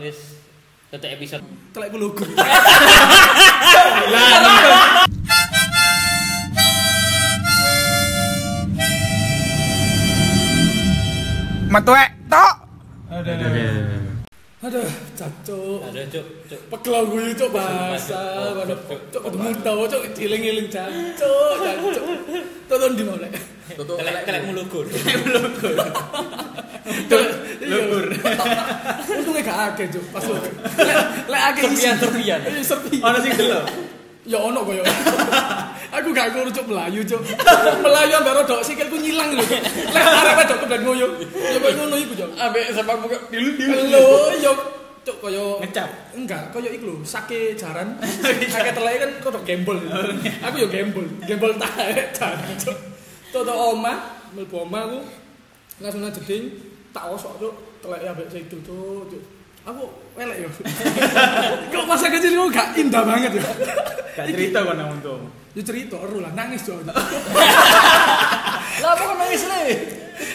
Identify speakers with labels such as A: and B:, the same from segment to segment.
A: Wis tetek episode.
B: Telekku lugu.
C: Metuek tok.
B: Aduh, cacuk.
A: Ada cuk, cuk.
B: Pegel gue cuk bahasa. Waduh, Cuk ketemu tau cuk ciling-iling cacuk, cacuk. Tonton di mana?
A: Telek telek mulugur.
B: Lebur. Untungnya gak akeh cuk, pas lugu. Lek- Lek akeh isi.
A: Serpian-serpian.
B: Iya, serpian.
D: Ono sing delok.
B: Ya ono koyo. Aku gak kuru cuk Melayu cuk. Melayu ambek rodok sikilku nyilang lho. Cuk. Lek arep cuk kebelet ngoyo. Ya koyo ngono iku cuk.
A: Ambek sepak buka dilu
B: Lho, yo cuk koyo
D: Ngecap.
B: Enggak, koyo iku lho, sake jaran. Sake teleke kan kodok gembol. Aku yo gembol, gembol tae jaran cuk. Toto oma, mlebu oma aku langsung nang jeding tak osok cuk, teleke ambek situ cuk. cuk. Aku elek yo. Kok masa kecil kok gak indah banget ya.
D: Gak cerita kok nang untung.
B: Ya cerita ero lah nangis jauh. Lah apa kok nangis le?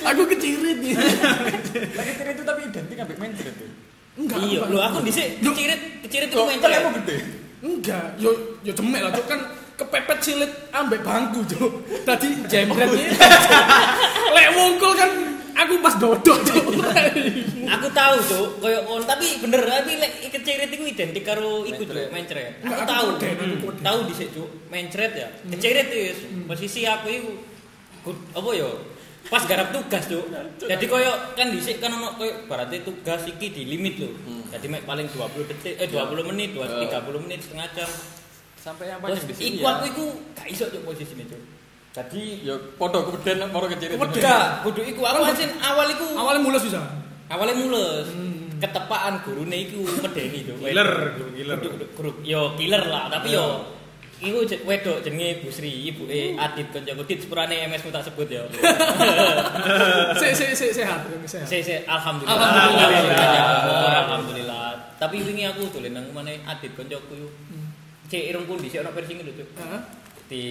B: Aku kecirit nih.
D: Lagi cerita tapi identik ambek main cerita.
B: Enggak.
A: Iya,
B: enggak.
A: lho aku dhisik
B: Yo,
A: kecirit, kecirit itu
D: Kok
A: main
D: telekmu
A: telek.
D: gede.
B: Enggak, yo yo demek lah cuk kan kepepet silit ambek bangku cuk. Tadi jembret iki. Lek wungkul kan aku pas dodok cuk.
A: Aku tahu cuk, koyo on tapi bener tapi lek kecirit itu identik karo iku cuk, mencret. Aku
B: Aku
A: tahu.
B: koden, aku
A: Hmm.
B: koden.
A: Tahu dhisik cuk, mencret ya. Kecirit wis posisi aku iku ku- apa yo? Pas garap tugas cuk. Jadi koyo kan dhisik kan ono koyo berarti tugas iki di limit lho.
E: Hmm.
A: Jadi mek paling 20 detik eh 20 menit, 20 30 menit setengah jam.
E: sampai yang
A: Terus
E: paling di sini
A: iku
E: ya.
A: aku iku gak iso cuk posisine cuk.
E: jadi ya podo kemudian baru kecil
B: Kemudian.
A: Enggak, bodoh iku aku
B: Kan
A: asin awal iku.
B: Awalnya mulus bisa.
A: Awalnya mules. Ketepaan gurune iku medeni to.
D: Killer, guru killer.
A: Guru yo killer lah, tapi yo iku je- wedok jenenge Bu Sri, ibuke Adit kancaku Dit sepurane MS ku tak sebut yo.
B: Se se Eh. se sehat, sehat.
A: Se se alhamdulillah.
B: Alhamdulillah.
A: Alhamdulillah. Alhamdulillah. Tapi wingi aku dolen nang omane Adit kancaku yo. Cek irungku dhisik ono versi ngene lho. Cuk.
B: Heeh.
A: Di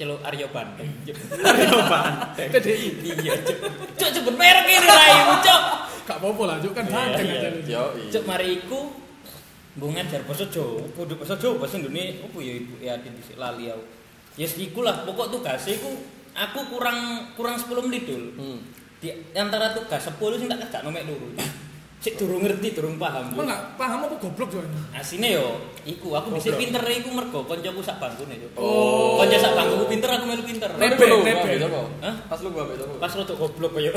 A: celuk Aryo Bandung.
D: Coba.
B: PDI.
A: Iya, Cuk. Cuk sebut merek ini lah ibu, Cuk.
B: Gak apa-apa lah cuk kan banteng aja. lu.
E: yo iya.
A: Cuk mari iku mbok ngajar basa Jawa, kudu basa Jawa, basa Indonesia opo ya ibu ya di dhisik lali aku. Ya iku lah pokok tugase iku aku kurang kurang 10 menit dul.
B: Hmm.
A: Di antara tugas 10 sing tak kerjakno mek loro. Sik durung ngerti, durung paham.
B: Kok
A: Dul.
B: enggak paham apa goblok cuk.
A: Asine yo iku aku bisa
B: Goblok.
A: pinter iku mergo kancaku sak bangkune yo. Oh. Kanca sak bangkuku pinter aku melu pinter.
B: Nebe, nebe.
A: Hah?
E: pas lu gua ambil toko.
A: Pas rodok goblok koyo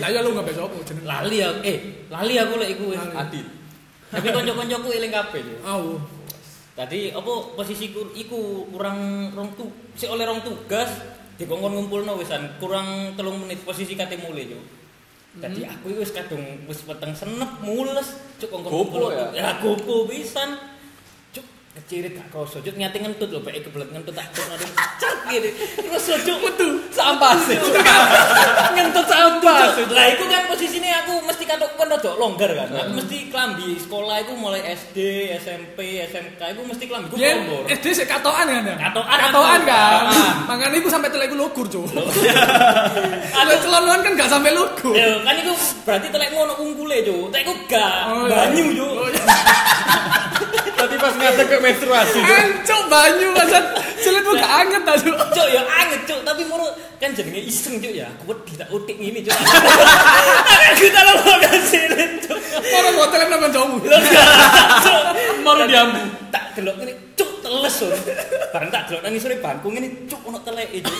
B: Lah ya lu enggak besok apa jeneng.
A: lali aku eh lali aku lek iku wis.
B: Lali.
E: adit
A: Tapi kanca-kancaku eling kabeh yo.
B: Au.
A: Tadi apa posisi kur, iku kurang rong tu, si oleh rong tugas dikongkon ngumpulno wisan kurang telung menit posisi kate mulai yo. Tadi aku iku wis kadung wis peteng senep mules cuk kongkon
E: Gopo
A: ngumpulno.
E: ya?
A: Ya gopo pisan. Cuk kecirit gak kroso cuk nyati ngentut lho bae kebelet ngentut tak cuk nanti cuk gini. Kroso cuk metu sampah sih. Ngentut sampah. Lah iku kan posisine aku mesti katok kon rodok longgar kan. Aku mesti klambi sekolah iku mulai SD, SMP, SMK iku mesti klambi ku
B: Ya,
A: longgar.
B: SD sik katokan kan ya?
A: Katokan aku.
B: Eh, Katokan kan.
A: Katokan.
B: Makanya iku sampai telekku lugur, Cuk. Kalau celonuan kan gak sampai lugur.
A: Ya kan iku berarti telekmu ono ungkule, Cuk. Telekku gak
B: Oh, iya.
A: banyu, Cuk.
E: tadi pas ngadeg ke menstruasi
B: Ancuk banyu kan. Celitmu gak anget ta, Cuk.
A: Cuk ya anget, Cuk, tapi moro kan jenenge iseng, Cuk ya. Aku wedi tak utik ngene, Cuk. Kita lo gak silen, Cuk.
B: Ora mau telepon nang kancamu.
A: Lo gak, Cuk.
E: Moro
A: Dan
E: diambu.
A: Tak delok ngene, Cuk, teles, Cuk. Bareng tak delok nang isore bangku ngene, Cuk, ono teleke, Cuk.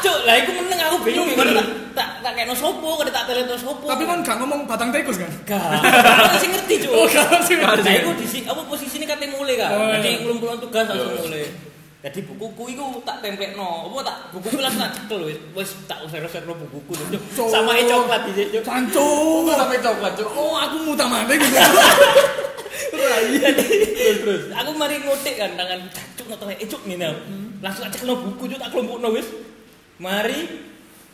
A: Cuk, lah iku meneng aku bingung tak tak tak kena sopo, kena tak telekno sopo.
B: Tapi kan gak ngomong batang tikus kan.
A: gak. Aku sing ngerti, Cuk.
B: Oh, gak sih.
A: Nah, iku di sini apa posisine kate mulai kak.
B: Oh, iya.
A: Jadi ngumpulkan tugas langsung mulai. Jadi bukuku iku tak templekno. Apa tak bukuku langsung tak cekel wis. Wis tak usir-usirno bukuku lho.
B: Cuk.
A: Sama e coklat di sini. e
B: Cancuk.
E: sampai coklat cuk
B: Oh, aku muta mana gitu.
A: Terus aku mari ngotik kan tangan cuk nang tangan ecuk ngene. aku. Langsung tak cekelno buku cuk tak kelompokno wis. Mari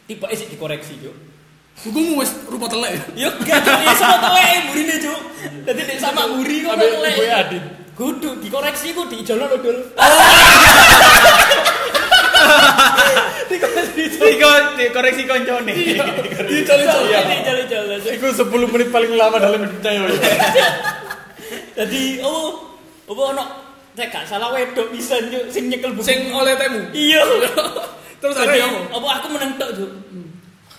A: tiba sik dikoreksi cuk.
B: Bukumu wis rupa telek.
A: Yo gak cuk iso teleke burine eh, cuk. Dadi nek sama buri ngono
E: Ambil
A: telek.
E: ibuke Adit.
A: Kudu dikoreksi ku diijolno lho, Dul.
D: Diko dikoreksi koncone.
A: Dicoli-coli, dicoli-coli.
E: Iku 10 menit paling lama dalam hidupnya ya.
A: Jadi oh apa ono nek gak salah wedok bisa njuk sing nyekel buku.
B: Sing oleh temu.
A: iya.
B: Terus
A: Jadi,
B: arek ngomong.
A: apa aku menentok Cuk.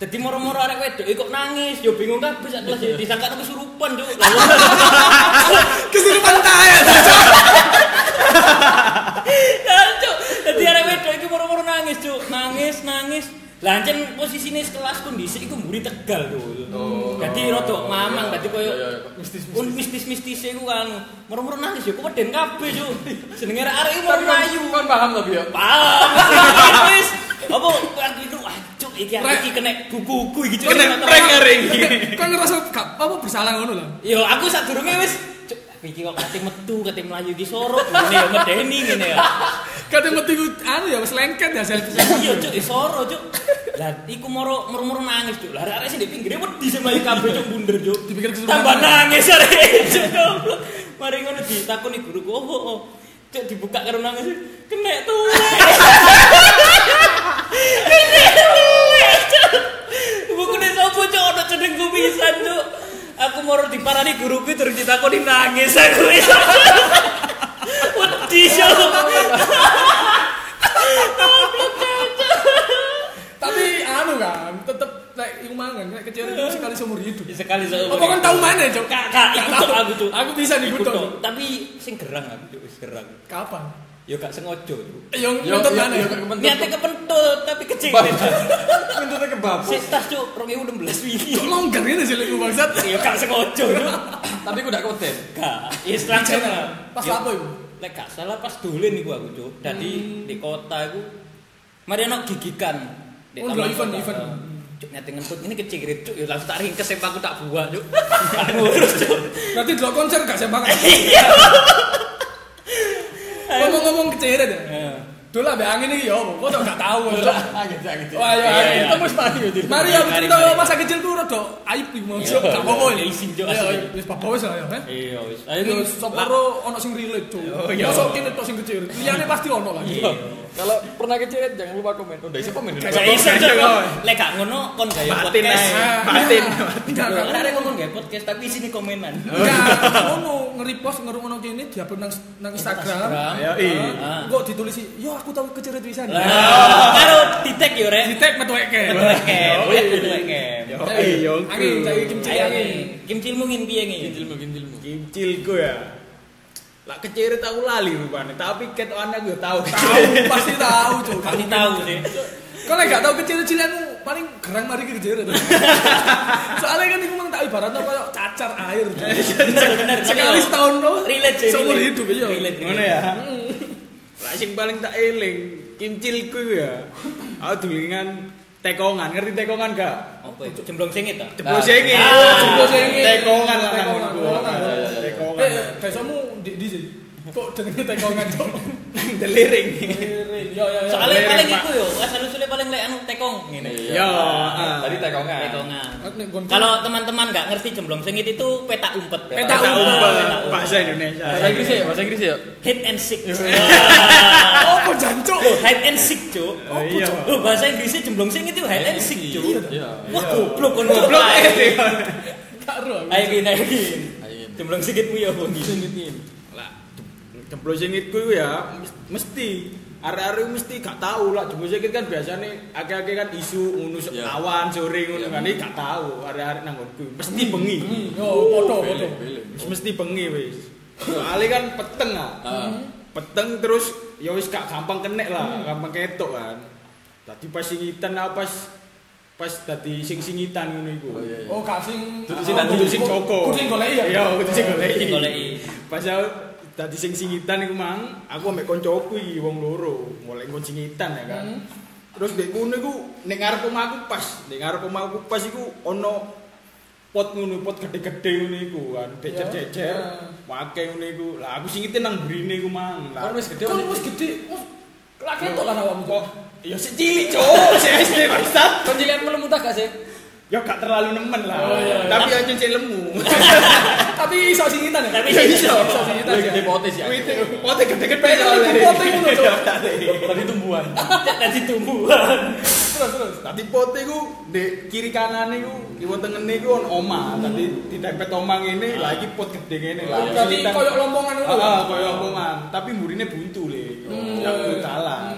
A: Jadi moro-moro arek wedok iki kok nangis, yo bingung kabeh sak kelas yo disangka aku kesurupan Cuk. Lah,
B: Kesurupan tae.
A: Lah, Cuk, dadi arek wedok iki moro-moro nangis, Cuk. Nangis, nangis. Lah ancen posisine sekelas kondisi iku mburi Tegal, Cuk. Dadi rada mamang, dadi koyo un mistis-mistis iku kan moro-moro nangis yo kok den kabeh, Cuk. Jenenge arek iki moro ayu.
E: Kan paham tapi ya.
A: Paham. Wis. Apa aku itu wah, Cuk, iki aku iki kena buku-buku iki, Cuk.
B: Kena
A: Kena
B: prank,
A: arek.
B: Kan ngerasa gak apa bersalah ngono lah.
A: Yo aku sadurunge wis Cuk, aku iki kok kate metu, kate mlayu iki sorok, ngene ya medeni ngene ya.
B: Kadang mesti ku anu ya wis lengket ya sel.
A: iya cuk isoro cuk lah iku moro murmur nangis cuk lah arek sing di pinggire wedi sing mlayu kabeh cuk bunder cuk
B: Dipikir kesurupan.
A: tambah nangis arek cuk goblok. mari ngono ditakoni guruku oh, oh, oh. cuk dibuka karo nangis kena tuh kena tuh buku ne sopo cuk ono cedengku pisan cuk aku moro diparani guruku terus ditakoni nangis aku wedi cuk
B: Tapi anu kan tetep nek iku mangan nek kecil itu sekali seumur hidup.
A: sekali saya
B: Apa kan tahu mana, Cok?
A: kakak
B: Gak
A: ikut
B: tahu.
A: aku tuh
B: Aku bisa
A: ikut
B: dikutuk.
A: Cuk. tapi sing gerang aku tuh wis gerang
B: Kapan?
A: ya gak sengaja Cuk.
B: Yang
E: Yo, iya,
B: nonton
E: yo,
B: mana ya?
E: yo, yo, kebentuk.
A: niatnya kepentut tapi kecil
D: Kentutnya kebab.
A: sik tas cuk 2016 wingi
B: Cok longgar ini sih lu bangsat.
A: ya gak sengaja Cuk.
E: Tapi aku gak konten.
A: gak ya langsung
B: Pas
A: Ya,
B: apa ibu?
A: lek gak salah pas dolen iku aku cuk dadi di kota iku mari ono gigikan Di
B: Oh,
A: Taman
B: lho, event,
A: Kota.
B: event.
A: cuk niatnya ngentut ini kecil cuk ya langsung tak ringkes sempak aku tak buat cuk tak ngurus cuk
B: Nanti dulu konser gak sembangan.
A: Iya.
B: Ngomong-ngomong kecil deh.
A: Eh.
B: Dulu lah be angin ini ya, apa? kok tau gak tahu. Cok.
A: Ah,
E: Angin sih, angin sih.
B: Wah, ya,
A: Iya,
B: angin.
A: iya.
B: Kita mesti mati ya. Cok. Mari ya,
A: Mari,
B: cerita
A: mari.
B: masa kecilku rada aib ibu mau.
A: Iya,
B: Cok. Gak apa-apa
A: iya,
B: ya.
A: isin, Cok,
B: Iya,
A: asli.
B: iya. Wis apa-apa ya. eh.
A: iya wis
B: Ayo
A: ayo
B: soporo ono sing relate cuk.
A: Oh,
D: iya.
B: Mosok kene tok sing kecil. Liyane pasti ono lagi.
E: Kalau pernah kecil jangan lupa komen. Udah isi komen.
A: Gak iso Cuk. lek gak ngono kon gaya
D: Batin
A: podcast.
D: ae. Batin.
B: Enggak,
A: Lho,
B: enggak.
A: kan ada ngomong gaya podcast tapi sini komenan.
B: Enggak, ngono nge-repost ngerungono kene diupload nang nang Instagram.
D: Ya i.
B: Ah, Kok ditulisi, "Yo aku tahu kecil tulisan."
A: Lah, karo di-tag yo rek.
B: Di tag metueke.
A: Kem, kem.
D: Yo i. Yo
B: Angin, cai kimchi
A: Oh, Ayo
B: angin.
A: kimcilmu ngin piye ngi? Kimcilmu.
D: Kimcilku ya. Lah kecil aku lali rupanya, tapi ket anak gue tahu.
B: Tahu, pasti tahu cuk.
A: Kami tahu sih.
B: Kau lagi gak tahu kecil-kecilanmu paling gerang mari ke kecil itu. Soalnya kan iku mang tak ibarat kaya cacar air. Cuk.
A: Bener bener.
B: Sekali setahun lo.
A: relate sih.
B: Seumur
A: relate.
B: hidup iya.
A: Relate.
D: Ngono ya. Lah sing paling tak eling kimcilku ya. Aku dulingan tekongan, ngerti tekongan gak?
A: Apa itu? Jemblong singit ta?
D: Jebol senge.
E: Ya,
A: Ah,
B: jebol senge.
D: Tekongan lah
B: Tekongan,
D: nangku.
B: tekongan.
D: Tekongan.
B: Eh, besokmu di di sih. Kok dengerin tekongan cuk?
D: Deliring.
B: Yo yo yo.
A: Soalnya
D: Relate,
A: paling
D: Pak.
A: iku yo, asal usulnya paling lek anu tekong ngene.
D: Ya, ah.
E: Tadi tekongan.
A: Tekongan.
B: Aku nek gonku-
A: Kalau teman-teman nggak ngerti jemblong sengit itu peta umpet.
B: Peta
D: Tak
B: umpet.
D: umpet
A: Peta umpet.
D: bahasa Indonesia.
E: Bahasa Inggris ya, bahasa Inggris ya.
A: Hit and seek.
B: Apa Oh, jancuk?
A: Loh, Oh, hide and seek, Cuk.
D: Oh, iya.
A: Loh, bahasa Inggrisnya jemblong sing itu hide and seek, Cuk.
E: Iya.
A: Wah, goblok kon.
D: Goblok eh. Deon.
B: Gak ro.
A: Ayo gini, ayo gini.
E: Ayo.
A: Jemblong sikitmu ya, Bung.
D: Lah, jempol sengitku ya mes- mesti arek-arek mesti gak tahu lah jempol sengit kan biasanya akeh-akeh kan isu ngono se-
E: Ya.
D: awan sore ngono
E: Ya.
D: kan iki gak tahu arek-arek nang nggonku mesti bengi.
B: Yo foto foto.
D: Wis mesti bengi wis. Soalnya kan peteng ah. peteng terus ya wis gak gampang kenek lah gampang ketok kan tadi pas singitan lah pas pas tadi sing singitan ngono iku
E: Oh, iya, iya.
B: Oh kasing.
E: Kudu
D: sing tadi sing Joko
B: Kudu sing goleki ya.
D: iya kudu sing goleki
A: Sing goleki.
D: pas aku tadi sing singitan iku mang aku ambek koncoku iki wong loro mulai ngon singitan ya kan terus dek ngono iku nek ngarep omahku pas nek ngarep omahku pas iku ono pot ngono pot gede-gede ngono iku kan jejer-jejer
B: Ya.
D: wake ngono iku lah aku singitin nang mrene iku mang lah
E: Kan wis gede.
B: Kau wis gede. wis Lah ketok lah awakmu kok.
D: kok ya sik cilik cowok sik SD bangsat
E: Koncilian melu mutah gak sih?
D: ya gak terlalu nemen lah
B: Oh, iya, iya.
D: tapi aja sik lemu
B: tapi iso singitan ya
A: Tapi
B: Ya,
A: iso.
B: iso singitan ya
E: Hipotesis ya.
D: Wih, pote gede-gede
B: Pengen
D: oleh.
B: itu pote ngono, Cok.
E: Tadi tumbuhan.
A: Tadi tumbuhan.
B: terus terus
D: Tadi pote ku di kiri kanan ku, kiwa tengene ku on oma. Tadi ditempet oma ngene, lagi pot gede ngene.
B: Oh, berarti koyok lompongan itu
D: Heeh, koyo omongan. Tapi murine buntu le.
B: Hmm.
D: Ya salah.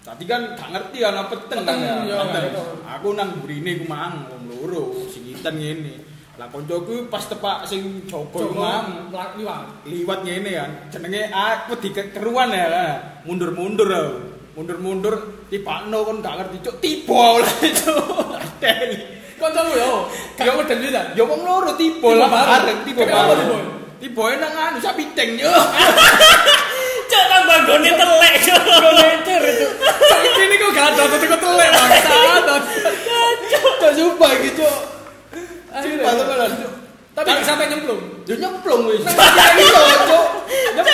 D: Tadi kan gak ngerti kan apa peteng kan
B: Peteng,
D: ya.
B: iya,
D: Peteng.
B: iya.
D: Aku nang murine ku mang wong loro, sing iten ngene. Lah koncoku pas tepak sing jogo ku mang.
B: coba liwat
D: liwat ngene kan jenenge aku dikeruan ya lah. mundur-mundur aku. mundur-mundur tipakno kon gak ngerti cuk tiba lah cuk Teli.
B: kancamu yo yo ngeden bisa
D: ya wong loro tiba
B: Tiba
D: lah
B: bareng.
D: bareng tiba
B: Kenapa
D: bareng
B: tiba?
D: tiba nang anu sak piting yo
A: Cok tambah gone telek. Cok.
B: Cer itu. Saiki ini kok gak ada tuh kok telek bangsat.
D: cuk sumpah iki cuk
B: Akhirnya.
D: sumpah tuh kan cuk
B: Tapi gak sampai nyemplung.
D: yo nyemplung wis iya cuk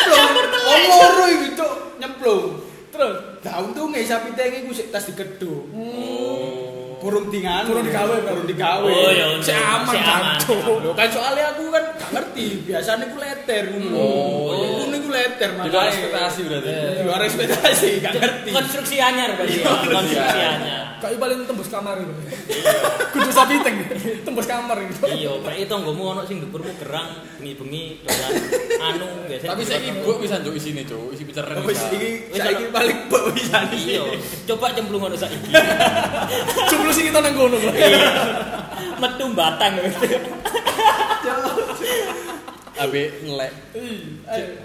D: nyemplung wong loro iki cuk nyemplung
B: Terus
D: Lah untunge sak piting iku sik tas digedhuk burung dingan
B: Hmm. Burung digawe, Bro.
D: burung digawe
A: Oh, ya
B: Hmm, si aman
A: Si aman.
B: kanto.
D: Lho kan soalnya aku kan gak ngerti, biasanya aku leter ngono. Oh, aku niku leter
E: Di luar
D: makanya.
E: ekspektasi berarti.
D: Di luar ekspektasi, gak ngerti.
A: Konstruksi anyar berarti. ya. Konstruksi anyar.
B: Kayak paling tembus kamar itu. Kudu sapi teng. Tembus kamar itu.
A: Iya, berarti tonggomu ono sing dhuwurmu gerang bengi-bengi dolan anu biasanya.
E: Tapi saya ini bisa njuk isine, Cuk. Isi bicara.
D: Oh, wis
A: Wis,
D: iki saiki
A: ana-
D: paling bok bisa iki.
A: Iya, coba cemplung ono saiki. Iya.
B: Jumlah sing kita nang kono. Bro.
A: Metu batang.
E: Abe ngelek.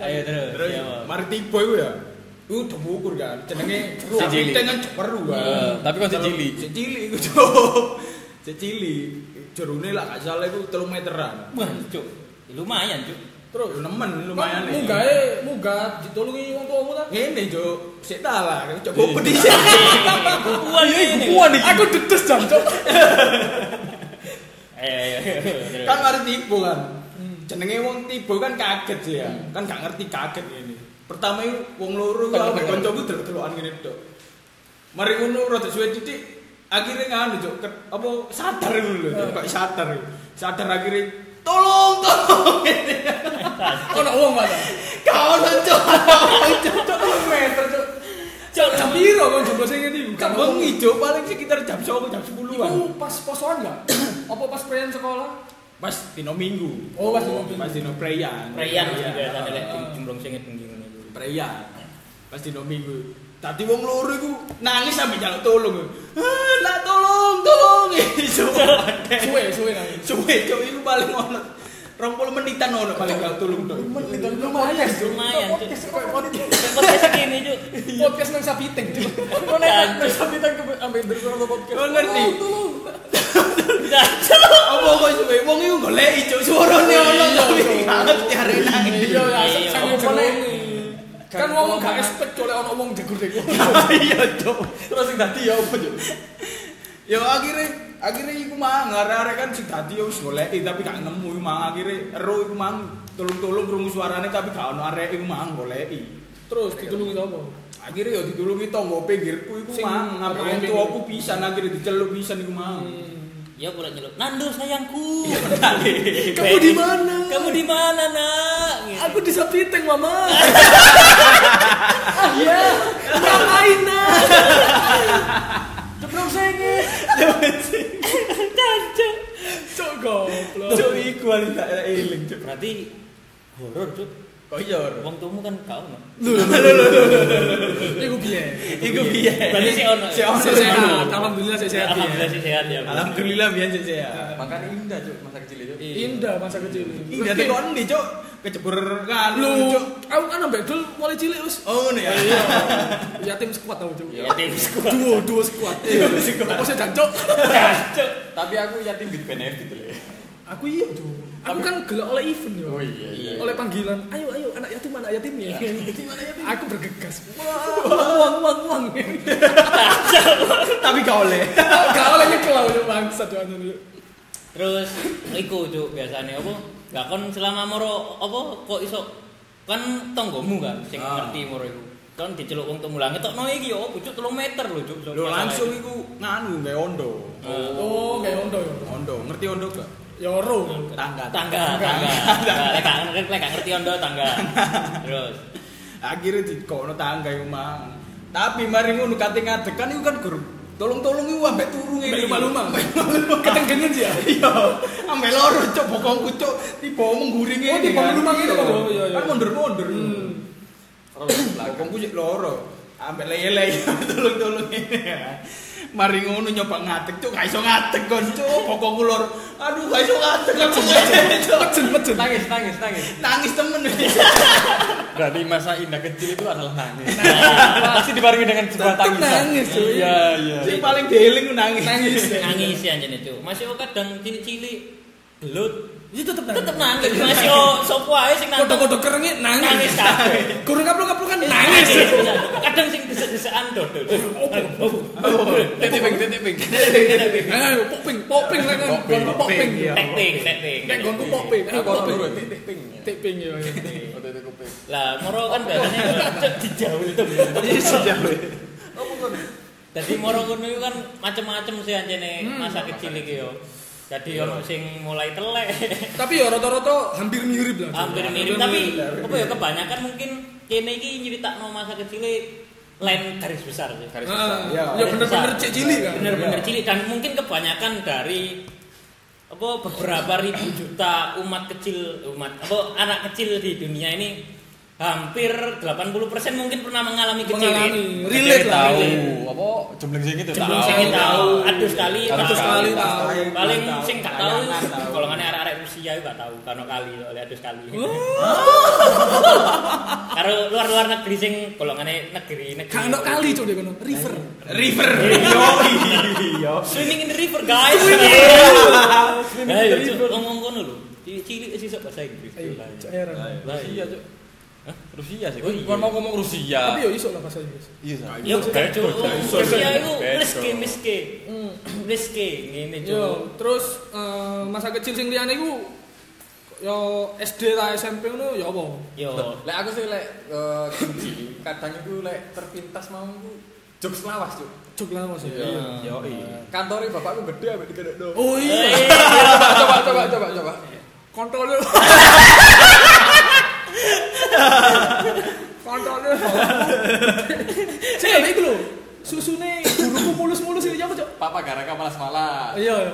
A: Ayo terus.
D: Terus
A: iya, Bang.
D: mari tiba iku ya. Iku demukur kan, jenenge
E: Si cilik.
D: Kita kan ceperu
E: Eh,
D: kan.
E: tapi kok si cilik?
D: Si cilik iku, Cuk. Si cilik jerone lah gak salah iku 3 meteran.
A: Wah, Cuk. Lumayan, Cuk.
B: Iya.
D: Terus nemen
B: Kan
D: lumayan iki.
B: Munggae munggah ditulungi wong tuamu ta.
D: Ngene, Cuk. Sik tak lah, coba pedis.
A: Kuat
B: iya,
A: ini.
B: Aku dedes jam cok.
A: Eh, terus.
D: kan mari tipu kan jenenge wong tipu kan kaget sih ya
B: Hmm.
D: kan gak ngerti kaget ini pertama itu wong loro kan ambek kancaku delok-delokan ngene tok mari ngono rada suwe titik akhirnya nganu cok ket- apa sadar ngono lho
B: Hmm.
D: Cok. kok sadar sadar akhirnya tolong tolong
B: Ono wong mana?
D: gak ono cok
B: Cok telung meter cok. Cok jam piro kon jumlah sing ngene iku?
D: gak bengi Cok. paling sekitar jam 9 jam 10-an
B: Iku pas posoan gak? Apa pas prean sekolah?
D: pas dino minggu
B: Oh, pas dino minggu.
D: pas dino preyan
A: Preyan sih
D: Preyan.
A: biasanya lek cemplung sing bengi ngono. iku.
D: Preya. Pas dino minggu. Tadi wong loro iku nangis sampe njaluk tolong. Ah, nak tolong, tolong. Suwe,
B: Suwe suwe nang.
D: suwe cok iku paling ono 20 menitan ono paling njaluk tolong tok.
B: Menitan lumayan Cuk.
A: Lumayan, Cuk.
B: Podcast kok podcast.
A: Podcast ini, Cuk.
B: podcast nang Sapiteng.
E: Kok
B: Iya.
E: naik terus sampai tang sampai berkurang ke podcast.
D: Kau ngerti?
A: Nah, Cuk.
D: Apa kok suwe wong iku goleki cok suarane ono tapi gak ngerti arek nangis.
B: Iya, ya,
A: Iya.
B: sang
E: Apa
B: jerone.
E: nih?
B: Kan wong gak expect oleh ono wong degur-degur.
D: Iya, cok.
E: Terus yang tadi ya apa, Cuk?
D: Ya akhirnya akhirnya iku mang arek-arek kan sing dadi wis goleki tapi gak nemu iku mang akhirnya ero iku mang tolong-tolong krungu suarane tapi gak ono arek iku mang goleki.
B: Terus ditulungi sapa?
D: akhirnya ya ditulungi tonggo pinggirku iku
B: Sing
D: mang
B: ngarep
D: ngapain
B: pinggir.
D: tuh aku pisan akhirnya diceluk pisan iku mang
A: Ya pula nyelup. Nando sayangku.
B: Kamu di mana?
A: Kamu di mana, Nak? Gitu.
B: Aku di Sapiteng, Mama. ah, ya. Ngapain, Nak? Ceplok senge.
A: Cancuk.
B: Cok goblok.
D: cuk iku ali tak eling cuk
A: Berarti horor, Cuk.
D: kok Oh iya Ron?
A: Wong tuamu kan gak ono.
B: Iku piye?
D: iku piye
A: Berarti sih ono.
D: Sik ono.
B: Saya sehat, alhamdulillah saya sehat.
A: Alhamdulillah sih sehat ya. Bro.
D: alhamdulillah biyen cuk ya
E: Makanya indah, Cuk, masa kecil itu.
B: Iya. Indah masa kecil.
D: ini dadi
B: Terus,
D: kon ndi cuk kecebur kan
B: Lu,
D: cuk
B: aku kan ambek dul mulai cilik wis.
D: oh ngene ya
B: Ya tim squad aku cuk.
A: Ya tim squad.
B: Duo, duo squad. Iya. Apa sih jancok?
A: Cancuk.
E: Tapi aku yatim di benefit lho.
B: Aku iya cuk. Aku kan gelak oleh event yo.
E: iya, iya.
B: Oleh panggilan, ayo ayo anak yatim anak yatim ya. Aku bergegas. Wah, uang uang uang.
D: tapi gak oleh
B: Gak oleh nyekel aku bangsa anu, doan dulu.
A: Terus iku cuk biasane apa? Gak kon selama moro apa kok iso kan tonggomu kan sing ngerti moro iku. Kon diceluk wong tuamu lah ngetokno iki yo apa cuk 3 meter lho cuk.
D: lu langsung iku nganu gawe ondo
B: Oh, kayak ondo yo.
D: ondo ngerti ondo gak
B: ya ro ngono.
D: tangga
A: tangga tangga lek gak ngerti lek gak ngerti ondo tangga terus
D: akhirnya dikono tangga iku mang tapi mari ngono kate ngadeg kan iku kan guru tolong-tolong iku ambek turu
B: Mbak
D: ngene
B: lumah-lumah. Ketenggengen sih ya.
D: iya ambek loro cuk bokongku cuk tiba omong guring
B: Oh, tiba lumah ngene, Pak, Bro. Iya, iya.
D: Iya, kan mundur-mundur
B: Hmm.
D: bokongku sik loro ambek leye-leye tolong-tolong ngene mari ngono nyoba ngadeg cuk gak iso ngadeg kon cuk bokongku loro aduh gak iso ngadeg aku
B: Pecen pecen.
E: Nangis, nangis, nangis.
D: nangis temen
E: Berarti masa indah kecil itu adalah nangis. Pasti dibarengi dengan sebuah
B: Nah. Tetep
E: tangisan.
B: nangis, cuy.
E: Iya, iya.
D: sing paling dieling nangis
A: nangis ya jane itu masih kok kadang cilik-cilik belut
B: Iya tetep nangis.
A: tetep nangis masih kok sopo ae sing nangis
B: Kodok-kodok kerenge nangis.
A: nangis kabeh
B: Kurang kapluk-kapluk kan nangis.
A: kadang sing desek-desekan dodol
E: Titik ping, titik ping.
B: Ayo poping, poping lek kan.
E: Poping,
B: Gonku poping.
D: poping, iya.
A: tekting tekting
B: Lek gonku poping. Ayo
E: Aku
B: poping.
E: dulu, titik ping.
B: Tiping ya. ya.
E: Oh, titik kuping.
A: lah moro kan biasanya dijauh itu Jadi moro ngono iku kan macem-macem sih anjene masa kecil iki yo. Jadi ono sing mulai telek,
B: Tapi ya rata-rata hampir mirip lah.
A: hampir mirip tapi apa ya kebanyakan mungkin kene iki nyeritakno masa kecil lain garis besar sih.
E: Garis besar.
B: Ah,
D: Iya.
B: Ya bener-bener cek cilik kan.
A: Bener-bener cilik dan mungkin kebanyakan dari apa beberapa ribu juta umat kecil umat apa anak kecil di dunia ini hampir 80% mungkin pernah mengalami kecil.
B: Mengalami. Relate lah.
E: Tahu
B: relate.
E: apa jembleng sing itu
A: Jembleng
E: tahu.
A: sing itu tahu. Aduh sekali,
E: Aduh
A: tahu.
E: sekali
B: tahu.
E: tahu.
A: paling sing gak tahu
D: Kayangan tahu.
A: golongane arek-arek Rusia iku gak tahu kano kali oleh adus kali
B: Oh.
A: karo luar-luar negeri sing golongane negeri negeri
B: Kano kali cuk dia kono. River.
D: River. Yo, yo.
A: swimming in the river guys ayo Cuk, ngomong ngono lho cilik sih sok bahasa Inggris
B: Ayo,
A: Lah,
B: cek heran.
E: Rusia, Cuk.
A: Hah?
E: Rusia sih.
A: Oh, iya.
E: Kan mau ngomong Rusia.
B: Tapi yo iso lah bahasa Inggris.
E: Iya, Sa.
A: Yo gak cuk,
E: Betul.
A: Rusia iku
E: Betul.
A: miske miske. Miske Hmm, ngene cuk.
B: Yo, terus eh, masa kecil sing liyane iku yo SD ta SMP ngono ya apa?
A: Yo.
E: Lek aku sih lek eh, kecil, kadang itu lek terpintas mau ku jokes lawas, Cuk.
B: Cuk lah Mas.
D: Yo,
A: Hmm.
E: Kantore bapakku gede ambek digedhekno.
B: Oh iya,
A: Eh,
E: coba coba coba coba.
B: kontol yo. Kontol yo. Cek lha iku lho. Susune guruku mulus-mulus iki apa, Cok?
E: Papa gara malas malas.
B: Iya, iya.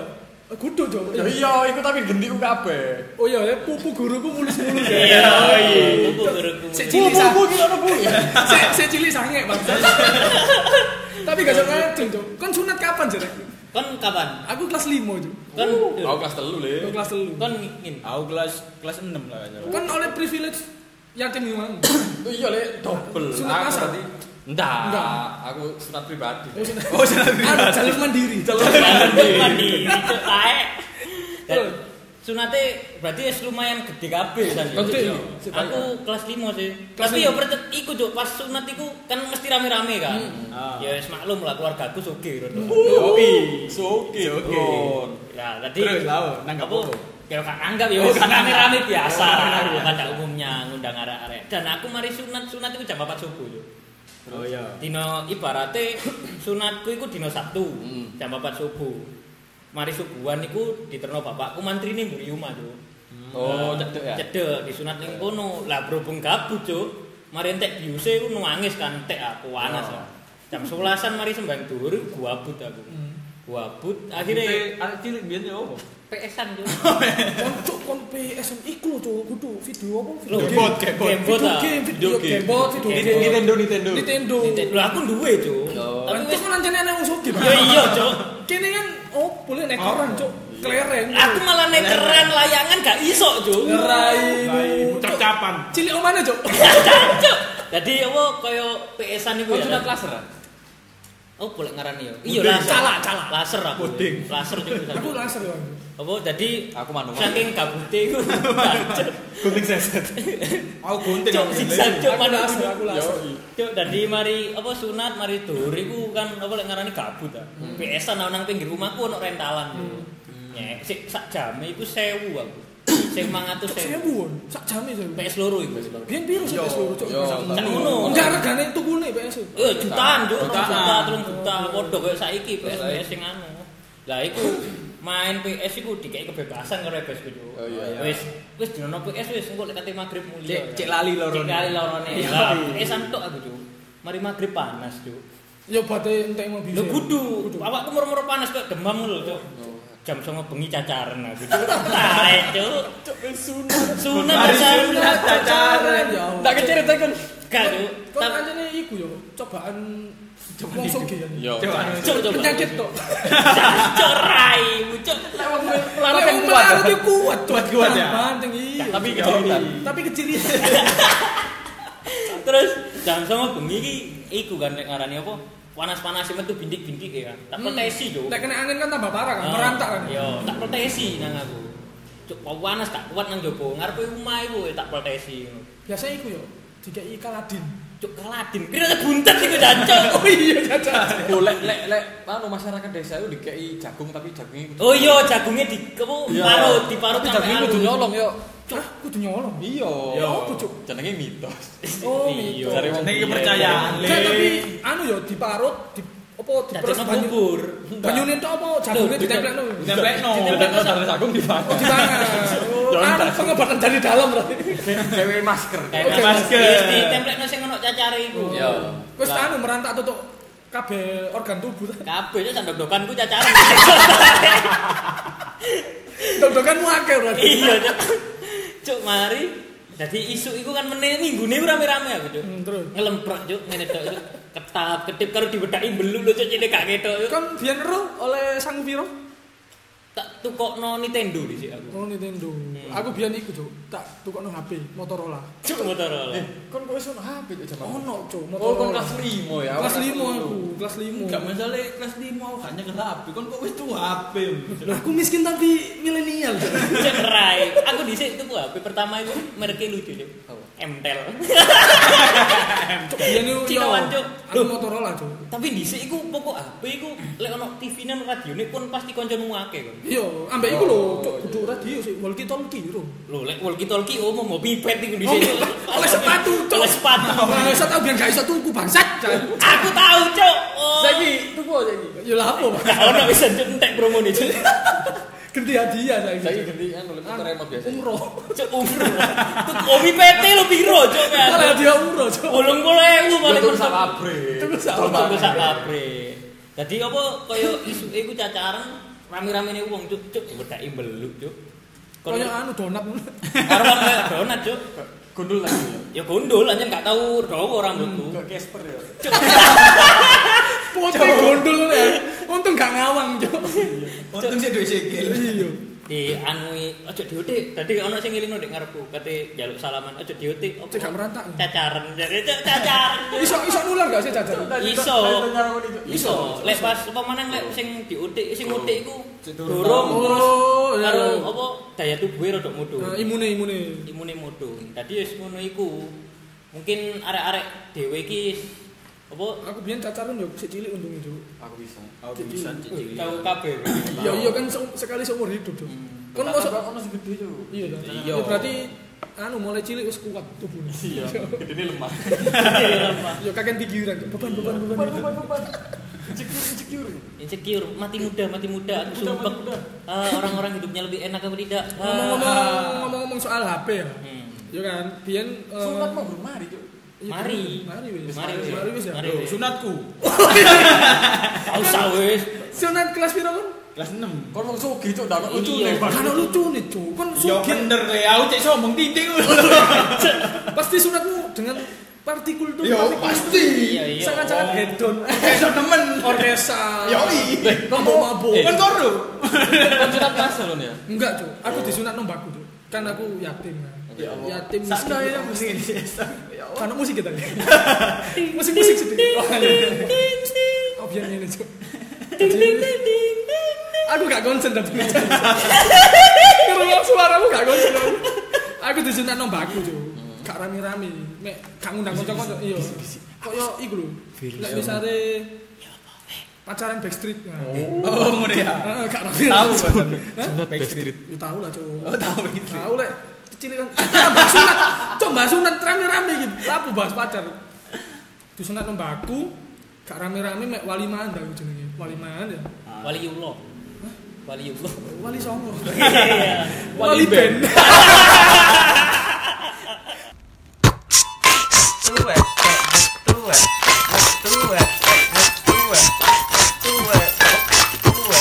B: Gudu, Cok.
E: Ya iya, iku tapi gendi ku kabeh.
B: Oh iya, ya, pupu guruku mulus-mulus ya.
A: Iya, iya. Buku guruku.
B: Sik
E: Bu
B: cilik
E: bu
B: sa-
E: bu iki ono bu.
B: Sik sik cilik sange, Bang. Tapi gak usah ngajeng, Cok. Kan sunat kapan, Cok?
A: Kon kapan?
B: Aku kelas 5, Cok.
A: Kon
E: Aku kelas 3, Le.
B: Aku kelas 3.
A: kon ngin.
D: Aku kelas kelas 6 lah kan.
B: kan oleh privilege yatim memang
E: Itu iya, Le, double.
B: Sunat
E: Aku
B: masal?
E: berarti- Enggak,
B: Enggak.
E: aku sunat pribadi.
B: oh ada jalur mandiri
A: mandi cuk tae. Dan Sunate berarti wis lumayan gede kabeh kan.
B: Gede, iya.
A: Aku kelas 5 sih. Tapi ya percet iku Cuk, pas sunat iku kan mesti rame-rame kan. Ah. Ya wis maklum lah keluargaku sugih ngono.
E: Yo, oke oke.
A: Ya, tadi
D: Terus lah, nanggap
A: Apa?
D: apa?
A: Ya gak anggap ya wis rame-rame biasa pada umumnya ngundang arek-arek. Dan aku mari sunat, sunat iku jam 4 subuh yo.
D: Oh iya.
A: Dino ibarate sunatku iku dino Sabtu
E: Hmm.
A: jam 4 subuh. Mari subuhan iku diterno bapakku mantrine mburi omah, Cuk.
E: Oh,
A: Nah,
E: cedek ya.
A: Cedek disunat ning kono. Lah berhubung gabut, Cuk. Mari entek biuse iku nangis kan entek aku panas.
E: Oh.
A: lah. Jam 11-an mari sembang dhuwur gua abut aku. Gua abut akhirnya
E: anak cilik biyen yo opo?
A: PS-an, Cuk.
B: Cuk, kon PSM iku lho cuk kudu video apa video
A: Loh,
B: game
A: gamebot.
B: video
A: Gamebot, ah.
B: game video
E: Video
B: game
E: game.
B: bot video
A: Nintendo,
B: game
E: Nintendo Nintendo.
B: Nintendo
A: Nintendo. Lah aku duwe, Cuk.
E: Oh.
A: Tapi
B: Tapi
A: wis
B: kan anjane ana wong sugih
A: Ya iya, Cuk.
B: kene kan oh boleh nek orang cuk kelereng
A: Aku malah nek keren layangan gak iso, Cuk.
B: ngerai
D: Ucap-ucapan.
B: cilik omane cuk
A: Cancuk. Jadi apa kaya PS-an iku
E: Kau
A: ya.
E: sunat laser? ah?
A: Oh, boleh ngarani ya. Iya,
B: Puding.
A: laser.
B: Calak, calak.
A: Laser aku. Laser juga.
B: aku laser yo
A: Apa jadi
E: Aku manual.
A: saking gabute iku.
D: Gunting seset. Aku gunting.
A: Cuk, siksan cuk
B: aku
A: manual.
B: laser aku laser
A: Cuk, dadi mari apa sunat, mari dhuwur iku kan apa lek ngarani gabut ta. PS-an nang nang pinggir rumahku ono rentalan. Nyek, sik sak jame iku 1000 aku. Sing 500
B: sewu won. sak jame sewu
A: PS loro iku. PS loro.
B: biyen piro sih
E: Yo,
B: PS loro cuk
E: yo,
A: Kan ngono.
B: enggak regane tukune PS
A: Eh jutaan, Cuk. Rong
E: Jutaan.
A: juta, telung juta, padha koyo saiki PS PS sing anu. Lah iku main PS iku dikek kebebasan karo PS iku.
E: Oh, iya.
A: Wis wis dinono PS wis engko lek kate magrib mulia.
D: Cek-
A: ya.
D: cek lali lorone.
A: Cek lali lorone.
D: Iya.
A: Lah, PS antuk aku, Cuk. Mari magrib panas, Cuk.
B: Yo bate entek mau bisa.
A: Lho kudu, awakku murmur panas kok demam lho, Cuk. Jam 09.00 bengi cacaran aku, Cuk. Tae, Cuk.
B: Cuk, wis sunat.
A: Sunat
D: Mari
A: cacaran.
D: sunat. Pacaran,
B: ya Allah.
A: Tak kecerita kan. Gak, Cuk.
B: Kok
A: Tapi-
B: anjene iku yo cobaan wong sugih.
E: Yo.
A: Cuk, Cuk.
B: Penyakit tok.
A: Cuk, raimu, Cuk. Larat yang
B: Lek
A: kuat.
B: umpan iki kuat, kuat
D: Kuat-kuat ya?
B: Manteng iya.
A: Tapi kejauhan.
B: Tapi kecil
A: Terus jam sama bengi iki iku kan nek ngarani apa? Panas-panas metu bintik-bintik ya kan. Tak protesi yo.
B: Lek kena angin kan tambah parah kan, Hmm. merantak kan.
A: Yo, tak protesi nang aku. Cuk, kok panas tak kuat nang jopo. Ngarepe omah iku ya tak protesi.
B: Biasanya iku yo dikai kaladin.
A: Cuk kaladin. Kira ada buntet iku jancuk.
B: Oh iya cacat.
E: Oh, lek lek lek anu masyarakat desa itu dikei jagung tapi jagungnya kudu-
A: Oh iya, jagungnya di apa parut, diparut
E: Tapi
A: sampai
E: jagungnya kudu
A: halus.
E: nyolong yo.
B: Cuk, kudu nyolong.
E: Iya.
D: Iya.
E: Apa, Cuk? Jenenge mitos.
B: Oh,
A: Iya.
E: Cari wong
D: Nek
E: biyen.
D: kepercayaan le.
B: Enggak, tapi anu yo diparut, di apa diperes
A: Jajangnya
B: banyu.
A: bubur.
B: Banyune tok apa jagungnya
A: Loh,
B: ditempel no.
D: Ditemplekno.
E: Jenenge dari jagung dibangun.
B: Di mana? Anu pengobatan dari dalam berarti.
E: Gawe masker.
A: Kayak
B: Oke,
A: masker.
D: masker.
A: Di template sing ono cacare iku.
E: Yo.
B: Wis anu merantak tutuk kabeh organ tubuh.
A: Kabeh itu sandok-dokan ku cacaran.
B: Dok-dokanmu akeh berarti.
A: Iya, Cuk. Cuk mari. Jadi isu iku kan meneh minggune ku rame-rame aku, Cuk.
B: Hmm, terus?
A: Ngelemprek, Cuk, ngene tok. Cuk. Ketap, ketip karo diwedaki mbelu lho, Cuk, cilik gak ketok. Cuk.
B: Kan biyen ero oleh Sang Piro.
A: Tak tukokno Nintendo dhisik aku.
B: Oh Nintendo. Aku biyen iku, Cuk. Tak tukokno HP Motorola.
A: Cuk Motorola.
E: Kon kok iso ono HP Cuk, jaman.
B: Ono, Cuk,
E: Oh,
B: Motorola.
E: kon kelas 5 ya.
B: Kelas
E: Aku
B: 5 aku, kelas 5.
D: Enggak masalah kelas 5 aku gak nyekel HP. Kon kok wis tuh HP.
B: Lah aku miskin tapi milenial.
A: Cuk rai. Aku dhisik tuku HP pertama iku mereke lucu, Cuk.
E: Apa?
A: Mtel.
B: Iya nih,
A: Cinawan, Cuk.
B: Aku Motorola, Cuk.
A: Tapi dhisik iku pokok HP iku lek ono TV-ne ono radione pun pasti kancamu akeh kon.
B: Iya, ambek iku lho, Cuk, kudu radio sih, walkie talkie lho.
A: Lho lek walkie-talkie oh mau pipet iku dhisik. Cuk.
B: Oleh Oh, sepatu, Cuk.
A: Oleh sepatu. Oh.
B: Bangsat tau biar gak iso tuku bangsat.
A: Aku tahu, Cuk. Oh.
E: Saiki tuku saiki.
B: Ya lah apa, Pak?
A: Gak ono bisa Cuk, entek promo nih Cuk.
B: Ganti hadiah
E: Saiki
B: saiki.
E: ganti kan oleh motor remote biasa.
B: Umroh.
A: Cuk umur. Tuh kopi PT lo piro Cuk kan.
B: Kalau hadiah umroh, Cuk.
A: Bolong kula ewu paling
E: Tuku sak
A: mentok.
E: kabre.
B: Tuku sak
A: Tuku tuku sak kabre. Dadi apa kaya isuke iku cacaran rame-ramene wong Cuk Cuk wedaki mbeluk Cuk.
B: Kayak
A: Kaya
B: anu donat ngono.
A: karo kaya donat Cuk.
E: Gundul lagi. ya.
A: Ya gondol anjen gak tau dawa rambutku.
E: Kayak Casper ya.
B: Pote gondol ngono ya. Untung gak ngawang, Cuk.
D: Untung sik duwe sikil.
A: Di
B: Iya.
A: anui ojo diote. Dadi ono sing ngelingo ndek ngarepku kate njaluk salaman ojo diote. Apa?
B: Cek gak merantak.
A: Cacaran. Cuk cacaran. Cuk.
B: Iso iso nular gak sih jajan?
A: Iso. Iso. Lek pas apa meneh lek sing diutik sing ngutik iku durung terus
B: Oh, ya.
A: karo apa daya tubuhe rada mudhun.
B: Nah, imune imune.
A: Imune mudhun. Dadi wis ngono iku. Mungkin arek-arek dhewe iki apa
B: Aku biyen cacaran yo sik cilik untungnya, Cuk.
E: Aku bisa.
D: Aku bisa cicil.
A: tahu kabeh.
B: Ya iya kan se- sekali seumur hidup, Cuk. Kon
E: Kon
B: mosok
E: Hmm. kok ono sing gede yo.
B: Iya, Cuk.
D: Iya.
B: Ya, berarti anu mulai cilik wis kuat tubuhnya.
E: Iya. Gedene lemah.
B: Yo kakek pikiran, Cuk. beban beban beban. beban.
E: Insecure insecure.
A: Insecure, mati muda, mati muda, aku
E: Muda, mati
A: sumpah.
E: muda.
A: Ah, orang-orang hidupnya lebih enak apa tidak? Ah,
B: Ngomong-ngomong
A: ah.
B: ngomong-ngomong soal HP ya.
A: Hmm.
B: Ya kan, biyen eh,
E: Sunat mau bermari Cuk.
B: iya,
A: Mari.
B: mari wis.
A: Mari, wis.
B: Mari wis ya.
A: Mari.
D: Loh, sunatku
A: Tahu sawis.
B: Sunat kelas piro kon?
D: kelas 6.
E: Kon wong sugih Cuk, ndak lucu
A: Iya.
E: nih.
B: Kan lucu nih, Cuk. Kon
D: Yo
B: sugih.
D: bener le, aku cek sombong titik.
B: Pasti sunatmu dengan partikul tuh.
D: Yo pasti.
A: Iya, iya.
B: Sangat-sangat
A: Oh.
B: hedon.
D: Iso nemen.
B: Orkesa.
D: Yo iya.
B: Mabuk-mabuk.
D: Kan koro.
E: Kon sunat pas lho ya.
B: Enggak, Cuk. Aku disunat nombaku, Cuk. Kan aku yatim. kan.
E: Ya Allah.
B: Yatim miskin.
D: Sakno ya mesti.
B: Kan musik kita. Musik-musik sedikit. Oh, Oh, biar ini, Cuk. Aku gak konsen tadi. Karena suaramu gak konsen. aku. Aku disunat nombaku, Cuk. Gak rame-rame. Mek gak ngundang kanca-kanca. Iya. Koyo iku lho. Lek misale pacaran backstreet. Oh,
D: Oh ngene ya.
B: gak rame.
D: Tahu kan.
B: Ya tahu lah cowok.
D: Oh, tahu gitu.
B: Tahu lah. Kecil kan. Ah, Bahas sunat. Coba bahas sunat rame-rame gitu. Apa bahas pacar? Di sunat nombaku. Gak rame-rame mek wali mandang jenenge. Wali mandang.
A: Waliullah.
B: Waliullah.
A: Wali Songo.
B: Iya.
A: Wali Ben.